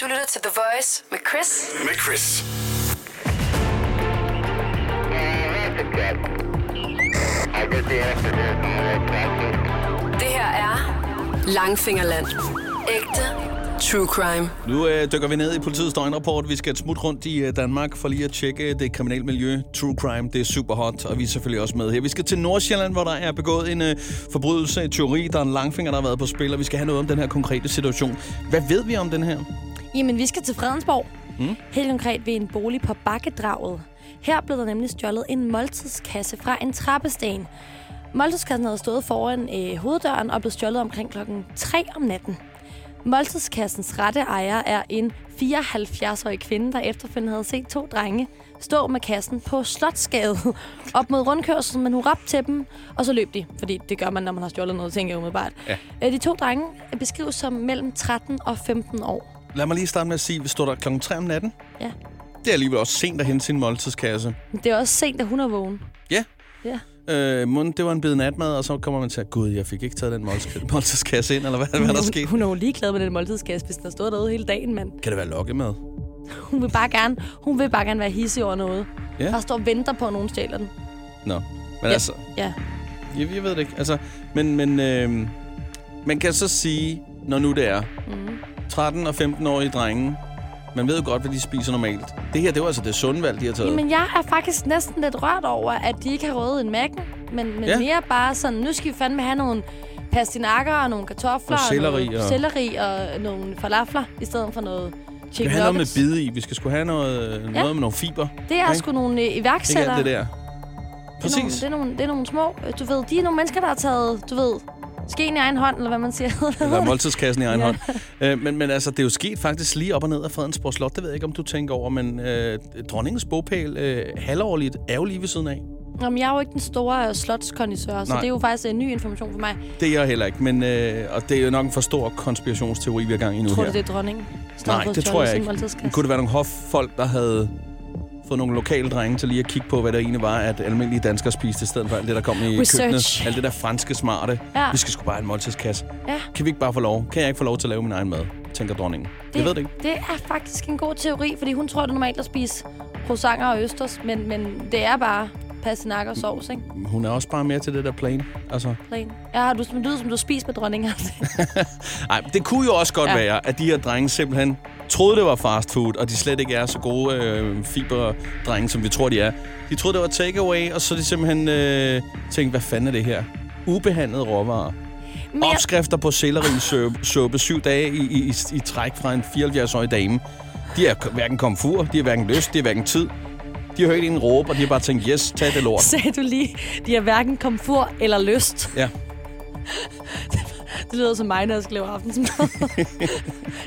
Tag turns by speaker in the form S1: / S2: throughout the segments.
S1: Du lytter til The Voice med Chris.
S2: Med Chris.
S1: Det her er Langfingerland. Ægte true crime.
S3: Nu øh, dykker vi ned i politiets døgnrapport. Vi skal et smut rundt i øh, Danmark for lige at tjekke øh, det kriminelle miljø. True crime, det er super hot, og vi er selvfølgelig også med her. Vi skal til Nordsjælland, hvor der er begået en øh, forbrydelse, teori, der er en langfinger, der har været på spil, og vi skal have noget om den her konkrete situation. Hvad ved vi om den her?
S4: Jamen, vi skal til Fredensborg. Mm. Helt konkret ved en bolig på Bakkedraget. Her blev der nemlig stjålet en måltidskasse fra en trappesten. Måltidskassen havde stået foran øh, hoveddøren og blev stjålet omkring klokken 3 om natten. Måltidskassens rette ejer er en 74-årig kvinde, der efterfølgende havde set to drenge stå med kassen på Slotsgade op mod rundkørselen, men hun råbte til dem, og så løb de, fordi det gør man, når man har stjålet noget, tænker jeg umiddelbart.
S3: Ja.
S4: Øh, De to drenge beskrives som mellem 13 og 15 år.
S3: Lad mig lige starte med at sige, at vi står der klokken 3 om natten.
S4: Ja.
S3: Det er alligevel også sent at hente sin måltidskasse.
S4: Men Det er også sent, at hun er vågen.
S3: Ja,
S4: Ja.
S3: øh, mon, det var en bid natmad, og så kommer man til at, gud, jeg fik ikke taget den måltids- måltidskasse ind, eller hvad, hvad er der skete?
S4: Hun, hun er jo ligeglad med den måltidskasse, hvis den har stået derude hele dagen, mand.
S3: Kan det være lokkemad?
S4: Hun vil bare gerne, hun vil bare gerne være hisse over noget.
S3: Ja.
S4: Ja. Bare står og venter på, at nogen stjæler den.
S3: Nå, men
S4: Ja.
S3: altså,
S4: Ja.
S3: Jeg, jeg ved det ikke. Altså, men men øh, man kan så sige, når nu det er, mm. 13- og 15-årige drenge, man ved jo godt, hvad de spiser normalt. Det her, det var altså det sunde valg, de har taget.
S4: Men jeg er faktisk næsten lidt rørt over, at de ikke har røget en mærken, men, men
S3: Ja.
S4: ja. mere bare sådan, nu skal vi fandme have nogle pastinakker og nogle kartofler
S3: Og selleri
S4: nogle
S3: og-
S4: selleri og nogle falafler, i stedet for noget
S3: vi skal
S4: chicken
S3: have noget med
S4: nuggets.
S3: bide i. Vi skal skulle have noget, ja. noget med nogle fiber.
S4: Det er
S3: ikke?
S4: sgu nogle øh,
S3: Ikke
S4: iværksættere.
S3: alt det der.
S4: Det er, nogle,
S3: Præcis.
S4: det, er nogle, det er nogle små, øh, du ved, de er nogle mennesker, der har taget, du ved, skeen i egen hånd, eller hvad man siger.
S3: Eller måltidskassen i egen
S4: Ja.
S3: hånd. Øh, men, men altså, det er jo sket faktisk lige op og ned af Fredensborg Slot. Det ved jeg ikke, om du tænker over, men øh, dronningens bogpæl øh, halvårligt er jo lige ved siden af.
S4: Jamen, jeg er jo ikke den store øh, slotskondisør, så
S3: Nej.
S4: det er jo faktisk en ny information for mig.
S3: Det er jeg heller ikke, men, øh, og det er jo nok en for stor konspirationsteori, vi har gang i nu
S4: Tror
S3: her.
S4: du, det er dronningen? Står
S3: Nej,
S4: på
S3: det
S4: stjålet
S3: tror jeg
S4: sin
S3: ikke.
S4: måltidskasse?
S3: Men Kunne det være nogle hoffolk, der havde fået nogle lokale drenge til lige at kigge på, hvad der egentlig var, at almindelige danskere spiste, i stedet for alt det, der kom i
S4: Research.
S3: køkkenet. Alt det der franske smarte.
S4: Ja.
S3: Vi skal sgu bare have en måltidskasse.
S4: Ja.
S3: Kan vi ikke bare få lov? Kan jeg ikke få lov til at lave min egen mad? Tænker dronningen. Det, jeg ved det ikke.
S4: Det er faktisk en god teori, fordi hun tror, det er normalt at spise croissanter og østers, men, men det er bare pastinakker og sovs, ikke?
S3: Hun er også bare mere til det der plan. Altså,
S4: Plain. Ja, har du det lyder, som du spiser med dronninger.
S3: nej, det kunne jo også godt ja.
S4: Ja.
S3: være, at de her drenge simpelthen troede, det var fast food, og de slet ikke er så gode øh, fiberdrenge, som vi tror, de er. De troede, det var takeaway, og så de simpelthen øh, tænkte, hvad fanden er det her? Ubehandlede råvarer.
S4: men jeg,
S3: opskrifter på sellerisuppe syv dage i, i, i, i træk fra en 74-årig dame. De er hverken komfur, de har hverken lyst, de har hverken tid. De har hørt en råbe, og de har bare tænkt, yes, tag det lort.
S4: sagde du lige, de har hverken komfort eller lyst.
S3: Ja,
S4: Det lyder som mig, når jeg skal lave aftensmad.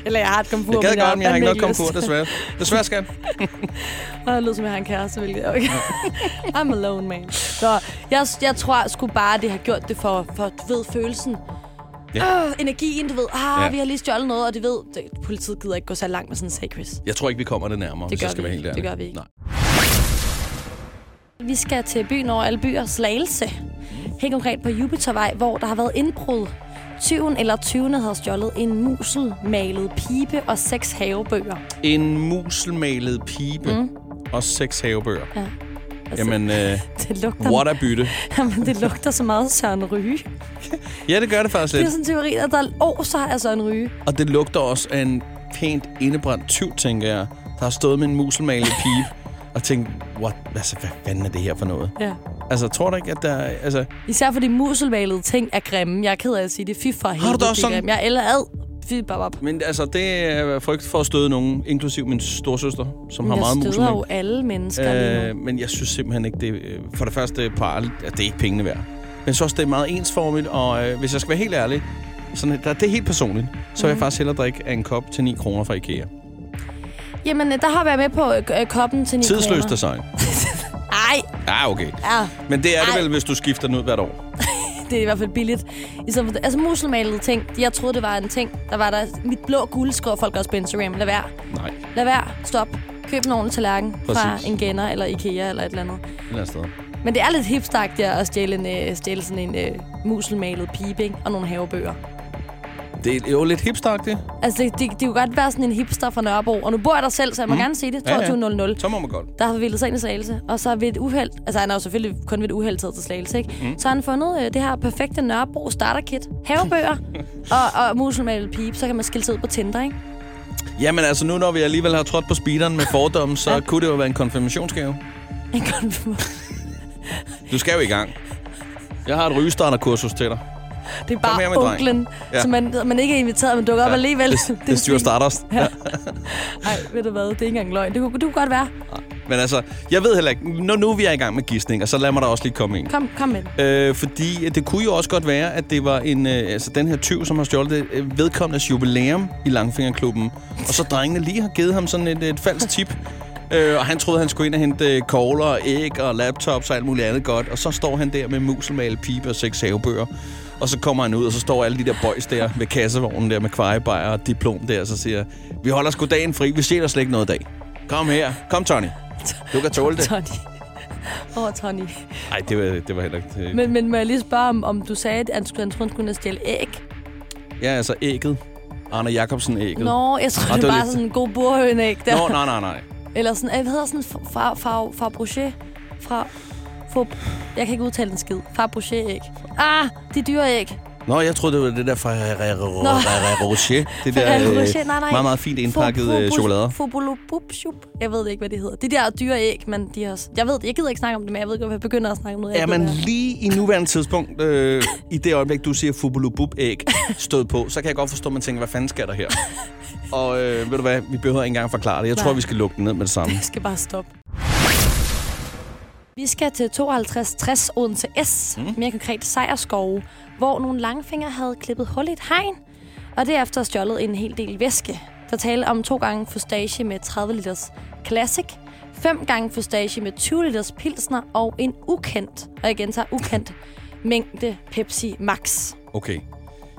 S4: Eller jeg har et komfur,
S3: jeg gad
S4: men
S3: godt, men jeg har ikke noget
S4: fandme
S3: komfur,
S4: lyst.
S3: desværre. Desværre, skat.
S4: Og jeg lyder som, jeg har en kæreste, hvilket jeg jo ikke. I'm alone, man. Så jeg, jeg tror sgu bare, det har gjort det for, for du ved, følelsen.
S3: Ja.
S4: Ja. Øh, energien, du ved. Ah,
S3: Ja.
S4: ja. vi har lige stjålet noget, og det ved, det, politiet gider ikke gå så langt med sådan en sag, Chris.
S3: Jeg tror ikke, vi kommer det nærmere, hvis
S4: gør
S3: jeg skal
S4: vi
S3: være helt
S4: ikke.
S3: ærlig.
S4: Det gør vi ikke.
S3: Nej.
S4: Vi skal til byen over alle byer, Slagelse. Helt konkret på Jupitervej, hvor der har været indbrud. Tyven eller tyvene havde stjålet en muselmalet pibe og seks havebøger.
S3: En muselmalet pibe mm. og seks havebøger. Ja. Jamen, øh,
S4: Altså, Det lugter,
S3: what a bytte.
S4: Jamen, det lugter så meget Søren Ryge.
S3: Ja, det gør det faktisk
S4: Det er
S3: lidt.
S4: sådan en teori, at der årsager er Søren Ryge.
S3: Og det lugter også af en pænt indebrændt tyv, tænker jeg, der har stået med en muselmalet pibe og tænkt, what, altså, hvad fanden er det her for noget?
S4: Ja.
S3: Altså, tror du ikke, at der... Altså,
S4: Især fordi muselmalede ting er grimme. Jeg er ked af at sige det. Fy for helvede,
S3: da også
S4: det er
S3: sådan?
S4: grimme. Jeg er eller ad. Fy babab.
S3: men altså, det er frygt for at støde nogen, inklusiv min storsøster, som har
S4: Jeg
S3: meget
S4: støder
S3: muselmæl.
S4: jo alle mennesker øh... lige
S3: Øh,
S4: nu.
S3: men jeg synes simpelthen ikke, det øh, For det første, par, at det er ikke pengene værd. Men så også, det er meget ensformigt, og øh, hvis jeg skal være helt ærlig, sådan, der, det er helt personligt, så vil jeg faktisk hellere drikke af en kop til 9 kroner fra Ikea.
S4: Jamen, øh, der har jeg med på øh, øh, koppen til 9
S3: Tidsløst
S4: kroner.
S3: design.
S4: Ej,
S3: Ah, okay.
S4: ja,
S3: Men det er det
S4: Ej.
S3: vel, hvis du skifter den ud hvert år.
S4: det er i hvert fald billigt. Især for, altså, muselmalede ting. Jeg troede, det var en ting. Der var der mit blå guld, skriver folk også på Instagram. Lad være.
S3: Nej,
S4: Lad være. Stop. Køb en ordentlig tallerken
S3: Præcis.
S4: fra en genner eller Ikea eller et eller andet.
S3: et eller andet sted.
S4: Men det er lidt hipstagt ja, at stjæle, en, øh, stjæle sådan en øh, muselmalet pibe ikke? og nogle havebøger.
S3: Det Det er jo lidt hipstagtigt.
S4: Altså, det, det, det kunne godt være sådan en hipster fra Nørrebro. Og nu bor jeg der selv, så jeg må mm. gerne se det. 22.00.
S3: Så må man godt.
S4: der har forvildet sig ind i Slagelse, og så ved et uheld, altså han er jo selvfølgelig kun ved et uheld taget til Slagelse, ikke? Mm. Så har han fundet øh, det her perfekte Nørrebro starterkit, havebøger og, og muselmalet pipe, så kan man skille sig ud på Tinder, ikke?
S3: Jamen altså, nu når vi alligevel har trådt på speederen med fordomme, så ja. kunne det jo være en konfirmationsgave.
S4: En konfirmation.
S3: Du skal jo i gang. Jeg har et rygestarterkursus til dig.
S4: Det er
S3: her med,
S4: bare
S3: dreng.
S4: onklen,
S3: Ja.
S4: ja. som man, man ikke er inviteret, men dukker ja. op alligevel.
S3: Det, det styrer Stardust. Ja.
S4: Nej, ved du hvad, det er ikke engang løgn. Det kunne, det kunne godt være.
S3: Men altså, jeg ved heller ikke, når nu vi er i gang med gidsninger, så lad mig da også lige komme ind.
S4: Kom, kom med. den.
S3: Øh, fordi øh, det kunne jo også godt være, at det var en, øh, altså den her tyv, som har stjålet det, øh, vedkommendes jubilæum i Langfingerklubben. Og så drengene lige har givet ham sådan et, et falsk tip. Øh, og han troede, han skulle ind og hente øh, kogler og æg og laptops og alt muligt andet godt. Og så står han der med muselmale, pibe og seks havebøger. Og så kommer han ud, og så står alle de der boys der ved kassevognen der med kvejebajer og diplom der, og så siger, vi holder sgu dagen fri, vi ser der slet ikke noget i dag. Kom her, kom Tony. Du kan tåle det.
S4: Tony. Åh, oh, Tony.
S3: Nej, det var, det var heller ikke... øh,
S4: Men, men må jeg lige spørge, om, om du sagde, at han skulle, han troede, han skulle stjæle æg?
S3: Ja, altså ægget. Arne Jacobsen ægget.
S4: Nå, jeg tror,
S3: Ah,
S4: det
S3: det
S4: er
S3: var
S4: bare
S3: lidt-
S4: sådan en god burhønæg der.
S3: Nå, nej, nej, nej.
S4: Eller sådan, jeg hedder sådan fra fra fra fra Brochet. Fra fra jeg kan ikke udtale den skid. Fra Brochet æg. Ah, de dyre æg.
S3: Nå, jeg troede, det var det der fra
S4: Nå.
S3: Rocher. Det der
S4: Ferrero
S3: øh,
S4: Rocher, nej, nej.
S3: meget, meget fint indpakket øh, chokolader.
S4: Fobolobup, jeg ved ikke, hvad det hedder. De der dyre æg, men de har... Jeg ved det, jeg gider ikke snakke om det, men jeg ved ikke, om jeg begynder at snakke om noget.
S3: Er
S4: æg,
S3: man
S4: det der.
S3: lige i nuværende tidspunkt, øh, i det øjeblik, du siger fubulubub-æg stod på, så kan jeg godt forstå, at man tænker, hvad fanden sker der her? Og øh, ved du hvad, vi behøver ikke engang forklare det. Jeg
S4: Nej.
S3: tror, vi skal lukke den ned med det samme.
S4: Jeg skal bare stoppe. Vi skal til 5260 Odense S, mm. mere konkret Sejerskov, hvor nogle langfinger havde klippet hul i et hegn, og derefter stjålet en hel del væske. Der taler om to gange fustage med 30 liters Classic, fem gange fustage med 20 liters Pilsner og en ukendt, og igen så ukendt, mængde Pepsi Max.
S3: Okay.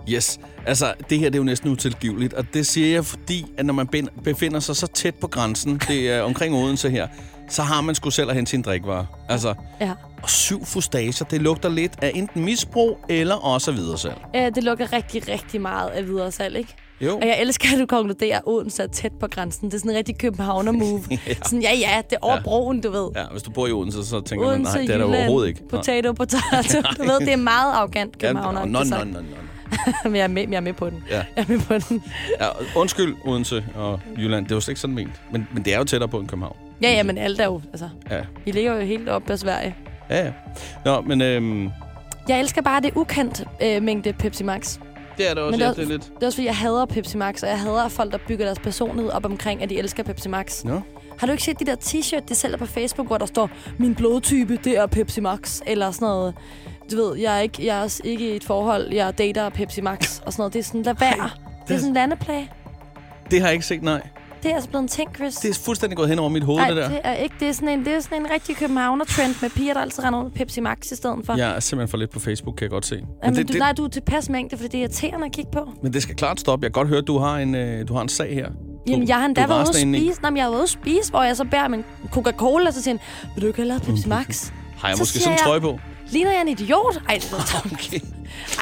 S3: Yes. Altså, det her det er jo næsten utilgiveligt, og det siger jeg, fordi at når man ben- befinder sig så tæt på grænsen, det er omkring Odense her, så har man sgu selv at hente sin drikkevarer. Altså,
S4: Ja.
S3: og syv fustager, det lugter lidt af enten misbrug eller også videresalg.
S4: Øh, Det lukker rigtig, rigtig meget af videre salg, ikke?
S3: Jo.
S4: Og jeg elsker, at du konkluderer, at Odense er tæt på grænsen. Det er sådan en rigtig københavner-move. ja. Sådan, ja, ja, det er over
S3: Ja.
S4: broen, du ved. Ja.
S3: Ja, hvis du bor i Odense, så tænker Odense, man,
S4: Odense,
S3: nej, det er der
S4: Jylland,
S3: overhovedet ikke.
S4: potato, potato. du ved, det er meget arrogant københavner.
S3: København.
S4: ikke?
S3: Nå, nå,
S4: Så-
S3: nå, nå.
S4: Men jeg er, med, jeg er med på den.
S3: Ja.
S4: Jeg er med på den.
S3: Ja, undskyld, Odense og Jylland. Det var slet ikke sådan ment. Men, men det er jo tættere på end København.
S4: Ja, ja, men alt er jo, altså,
S3: Ja,
S4: vi ligger jo helt op ad Sverige.
S3: ja. ja. Nå, men øhm,
S4: Jeg elsker bare det ukendt øh, mængde Pepsi Max.
S3: det er det også,
S4: Men
S3: det, ja,
S4: også-
S3: det er lidt...
S4: Det er også, fordi jeg hader Pepsi Max, og jeg hader folk, der bygger deres personlighed op omkring, at de elsker Pepsi Max.
S3: Nå.
S4: Har du ikke set de der t-shirt, de sælger på Facebook, hvor der står, min blodtype, det er Pepsi Max, eller sådan noget. Du ved, jeg er ikke, jeg er s- ikke i et forhold, jeg dater Pepsi Max, og sådan noget. Det er sådan, lad være. det
S3: er-
S4: er sådan en landeplage.
S3: Det har jeg ikke set, nej.
S4: Det er altså blevet en ting, Chris.
S3: Det er fuldstændig gået hen over mit hoved,
S4: Ej,
S3: det der.
S4: det er ikke. Det er sådan en, det er sådan en rigtig københavner-trend med piger, der altid render rundt med Pepsi Max i stedet for.
S3: Jeg er simpelthen for lidt på Facebook, kan jeg godt se. Men,
S4: Jamen,
S3: det,
S4: du,
S3: det,
S4: nej, du er tilpas mængde, fordi det er irriterende at kigge på.
S3: men det skal klart stoppe. Jeg kan godt høre, at du har en, øh, du har en sag her.
S4: Jamen, jeg har endda
S3: du
S4: været ude
S3: rasende
S4: at
S3: indeni.
S4: spise. Nå, men jeg har været ude at spise, hvor jeg så bærer min Coca-Cola, og så siger han, vil du ikke have lavet Pepsi Max?
S3: Har jeg
S4: Så
S3: måske
S4: siger
S3: sådan en
S4: jeg-
S3: trøje på?
S4: Ligner jeg en idiot? Ej, det er
S3: Okay.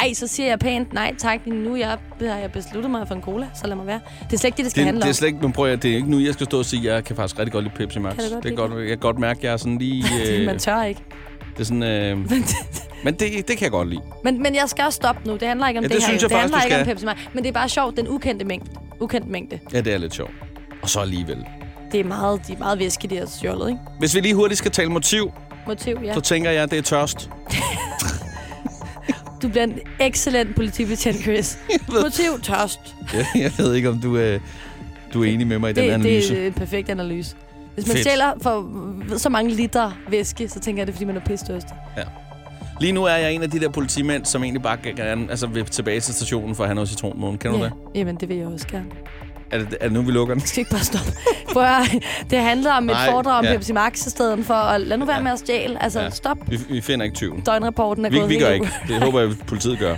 S4: Ej, så siger jeg pænt, nej tak, nu er jeg, har jeg besluttet mig for en cola, så lad mig være. Det er slet ikke det, det skal
S3: Det,
S4: handle
S3: det er
S4: om.
S3: slet ikke, nu prøver jeg, det er ikke nu, jeg skal stå og sige, at jeg kan faktisk rigtig godt lide Pepsi Max.
S4: Kan du godt
S3: det er
S4: lide
S3: godt, jeg kan godt mærke, at jeg er sådan lige...
S4: Fordi
S3: Øh,
S4: Man tør ikke.
S3: det er sådan, øh,
S4: Men,
S3: men det, det kan jeg godt lide.
S4: men, men jeg skal også stoppe nu. Det handler ikke om
S3: Ja,
S4: det,
S3: det
S4: her.
S3: synes
S4: jo.
S3: jeg
S4: det
S3: faktisk, du
S4: handler ikke
S3: skal.
S4: om Pepsi Max. Men det er bare sjovt, den ukendte mængde. Ukendt mængde.
S3: Ja, det er lidt sjovt. Og så alligevel.
S4: Det er meget, de er meget væske, de har stjålet, ikke?
S3: Hvis vi lige hurtigt skal tale motiv,
S4: Motiv, ja.
S3: så tænker jeg, at det er tørst.
S4: Du bliver en excellent politibetjent, Chris. Motiv, tørst.
S3: jeg ved ikke, om du, øh, du er enig med mig i den
S4: Det,
S3: analyse.
S4: det er en perfekt analyse. Hvis man
S3: Fedt.
S4: Fedt. stjæler for så mange liter væske, så tænker jeg, det er, fordi man er pisse
S3: Lige nu er jeg en af de der politimænd, som egentlig bare gerne altså, vil tilbage til stationen for at have noget citronmåne. Kan du det?
S4: Jamen, det vil jeg også gerne.
S3: Er det, er det nu, vi lukker den?
S4: skal ikke bare stoppe. Prøv at, høre, det handler om
S3: Nej,
S4: et foredrag om
S3: ja.
S4: ja. Pepsi Max i stedet for. Og lad nu være med at stjæle. Altså,
S3: Ja.
S4: ja. stop.
S3: Vi, vi finder ikke tyven.
S4: Døgnrapporten er
S3: Vi,
S4: gået
S3: vi
S4: helt
S3: gør
S4: ud.
S3: ikke. Det håber jeg, politiet gør.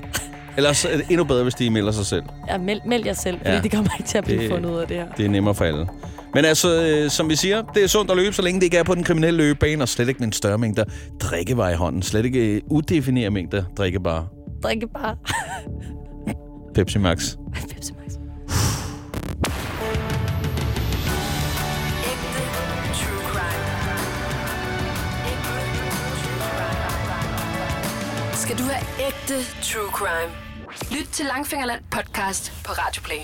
S3: Ellers er det endnu bedre, hvis de melder sig selv.
S4: Ja, meld, meld jer selv, fordi
S3: Ja.
S4: ja. det kommer ikke til at blive
S3: Det-
S4: det... fundet ud af det her.
S3: Det er nemmere for alle. Men altså, øh, som vi siger, det er sundt at løbe, så længe det ikke er på den kriminelle løbebane, og slet ikke med en større mængde drikkevarer i hånden. Slet ikke øh, udefinere mængder drikkevarer.
S4: Drikke bare.
S3: Pepsi Max.
S4: Pepsi Max.
S1: Ægte true crime. Ægte true crime. Skal du have ægte true crime? Lyt til Langfingerland podcast på Radio Play.